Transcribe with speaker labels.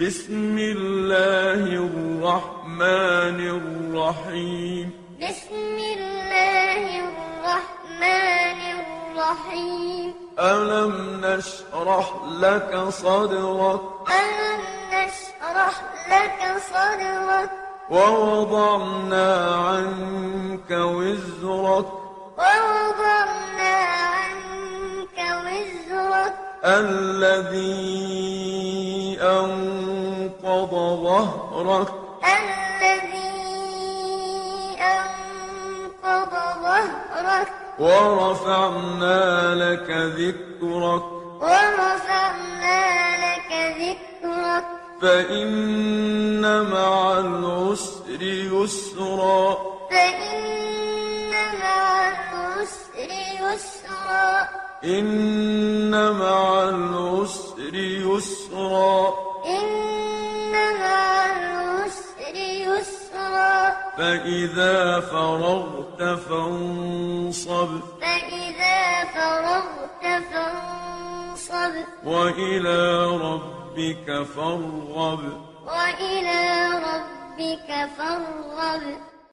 Speaker 1: بسم الله الرحمن الرحيم
Speaker 2: بسم الله الرحمن الرحيم
Speaker 1: ألم نشرح لك صدرك
Speaker 2: ألم نشرح لك صدرك
Speaker 1: ووضعنا عنك وزرك
Speaker 2: ووضعنا عنك وزرك الذي
Speaker 1: أنقض ظهرك
Speaker 2: الذي أنقض ظهرك
Speaker 1: ورفعنا لك ذكرك
Speaker 2: ورفعنا لك ذكرك
Speaker 1: فإن مع العسر يسرا
Speaker 2: فإن مع العسر يسرا
Speaker 1: إن مع العسر يسرا
Speaker 2: إن مع العسر يسرا
Speaker 1: فإذا فرغت فانصب
Speaker 2: فإذا فرغت فانصب
Speaker 1: وإلى ربك فارغب
Speaker 2: وإلى ربك فارغب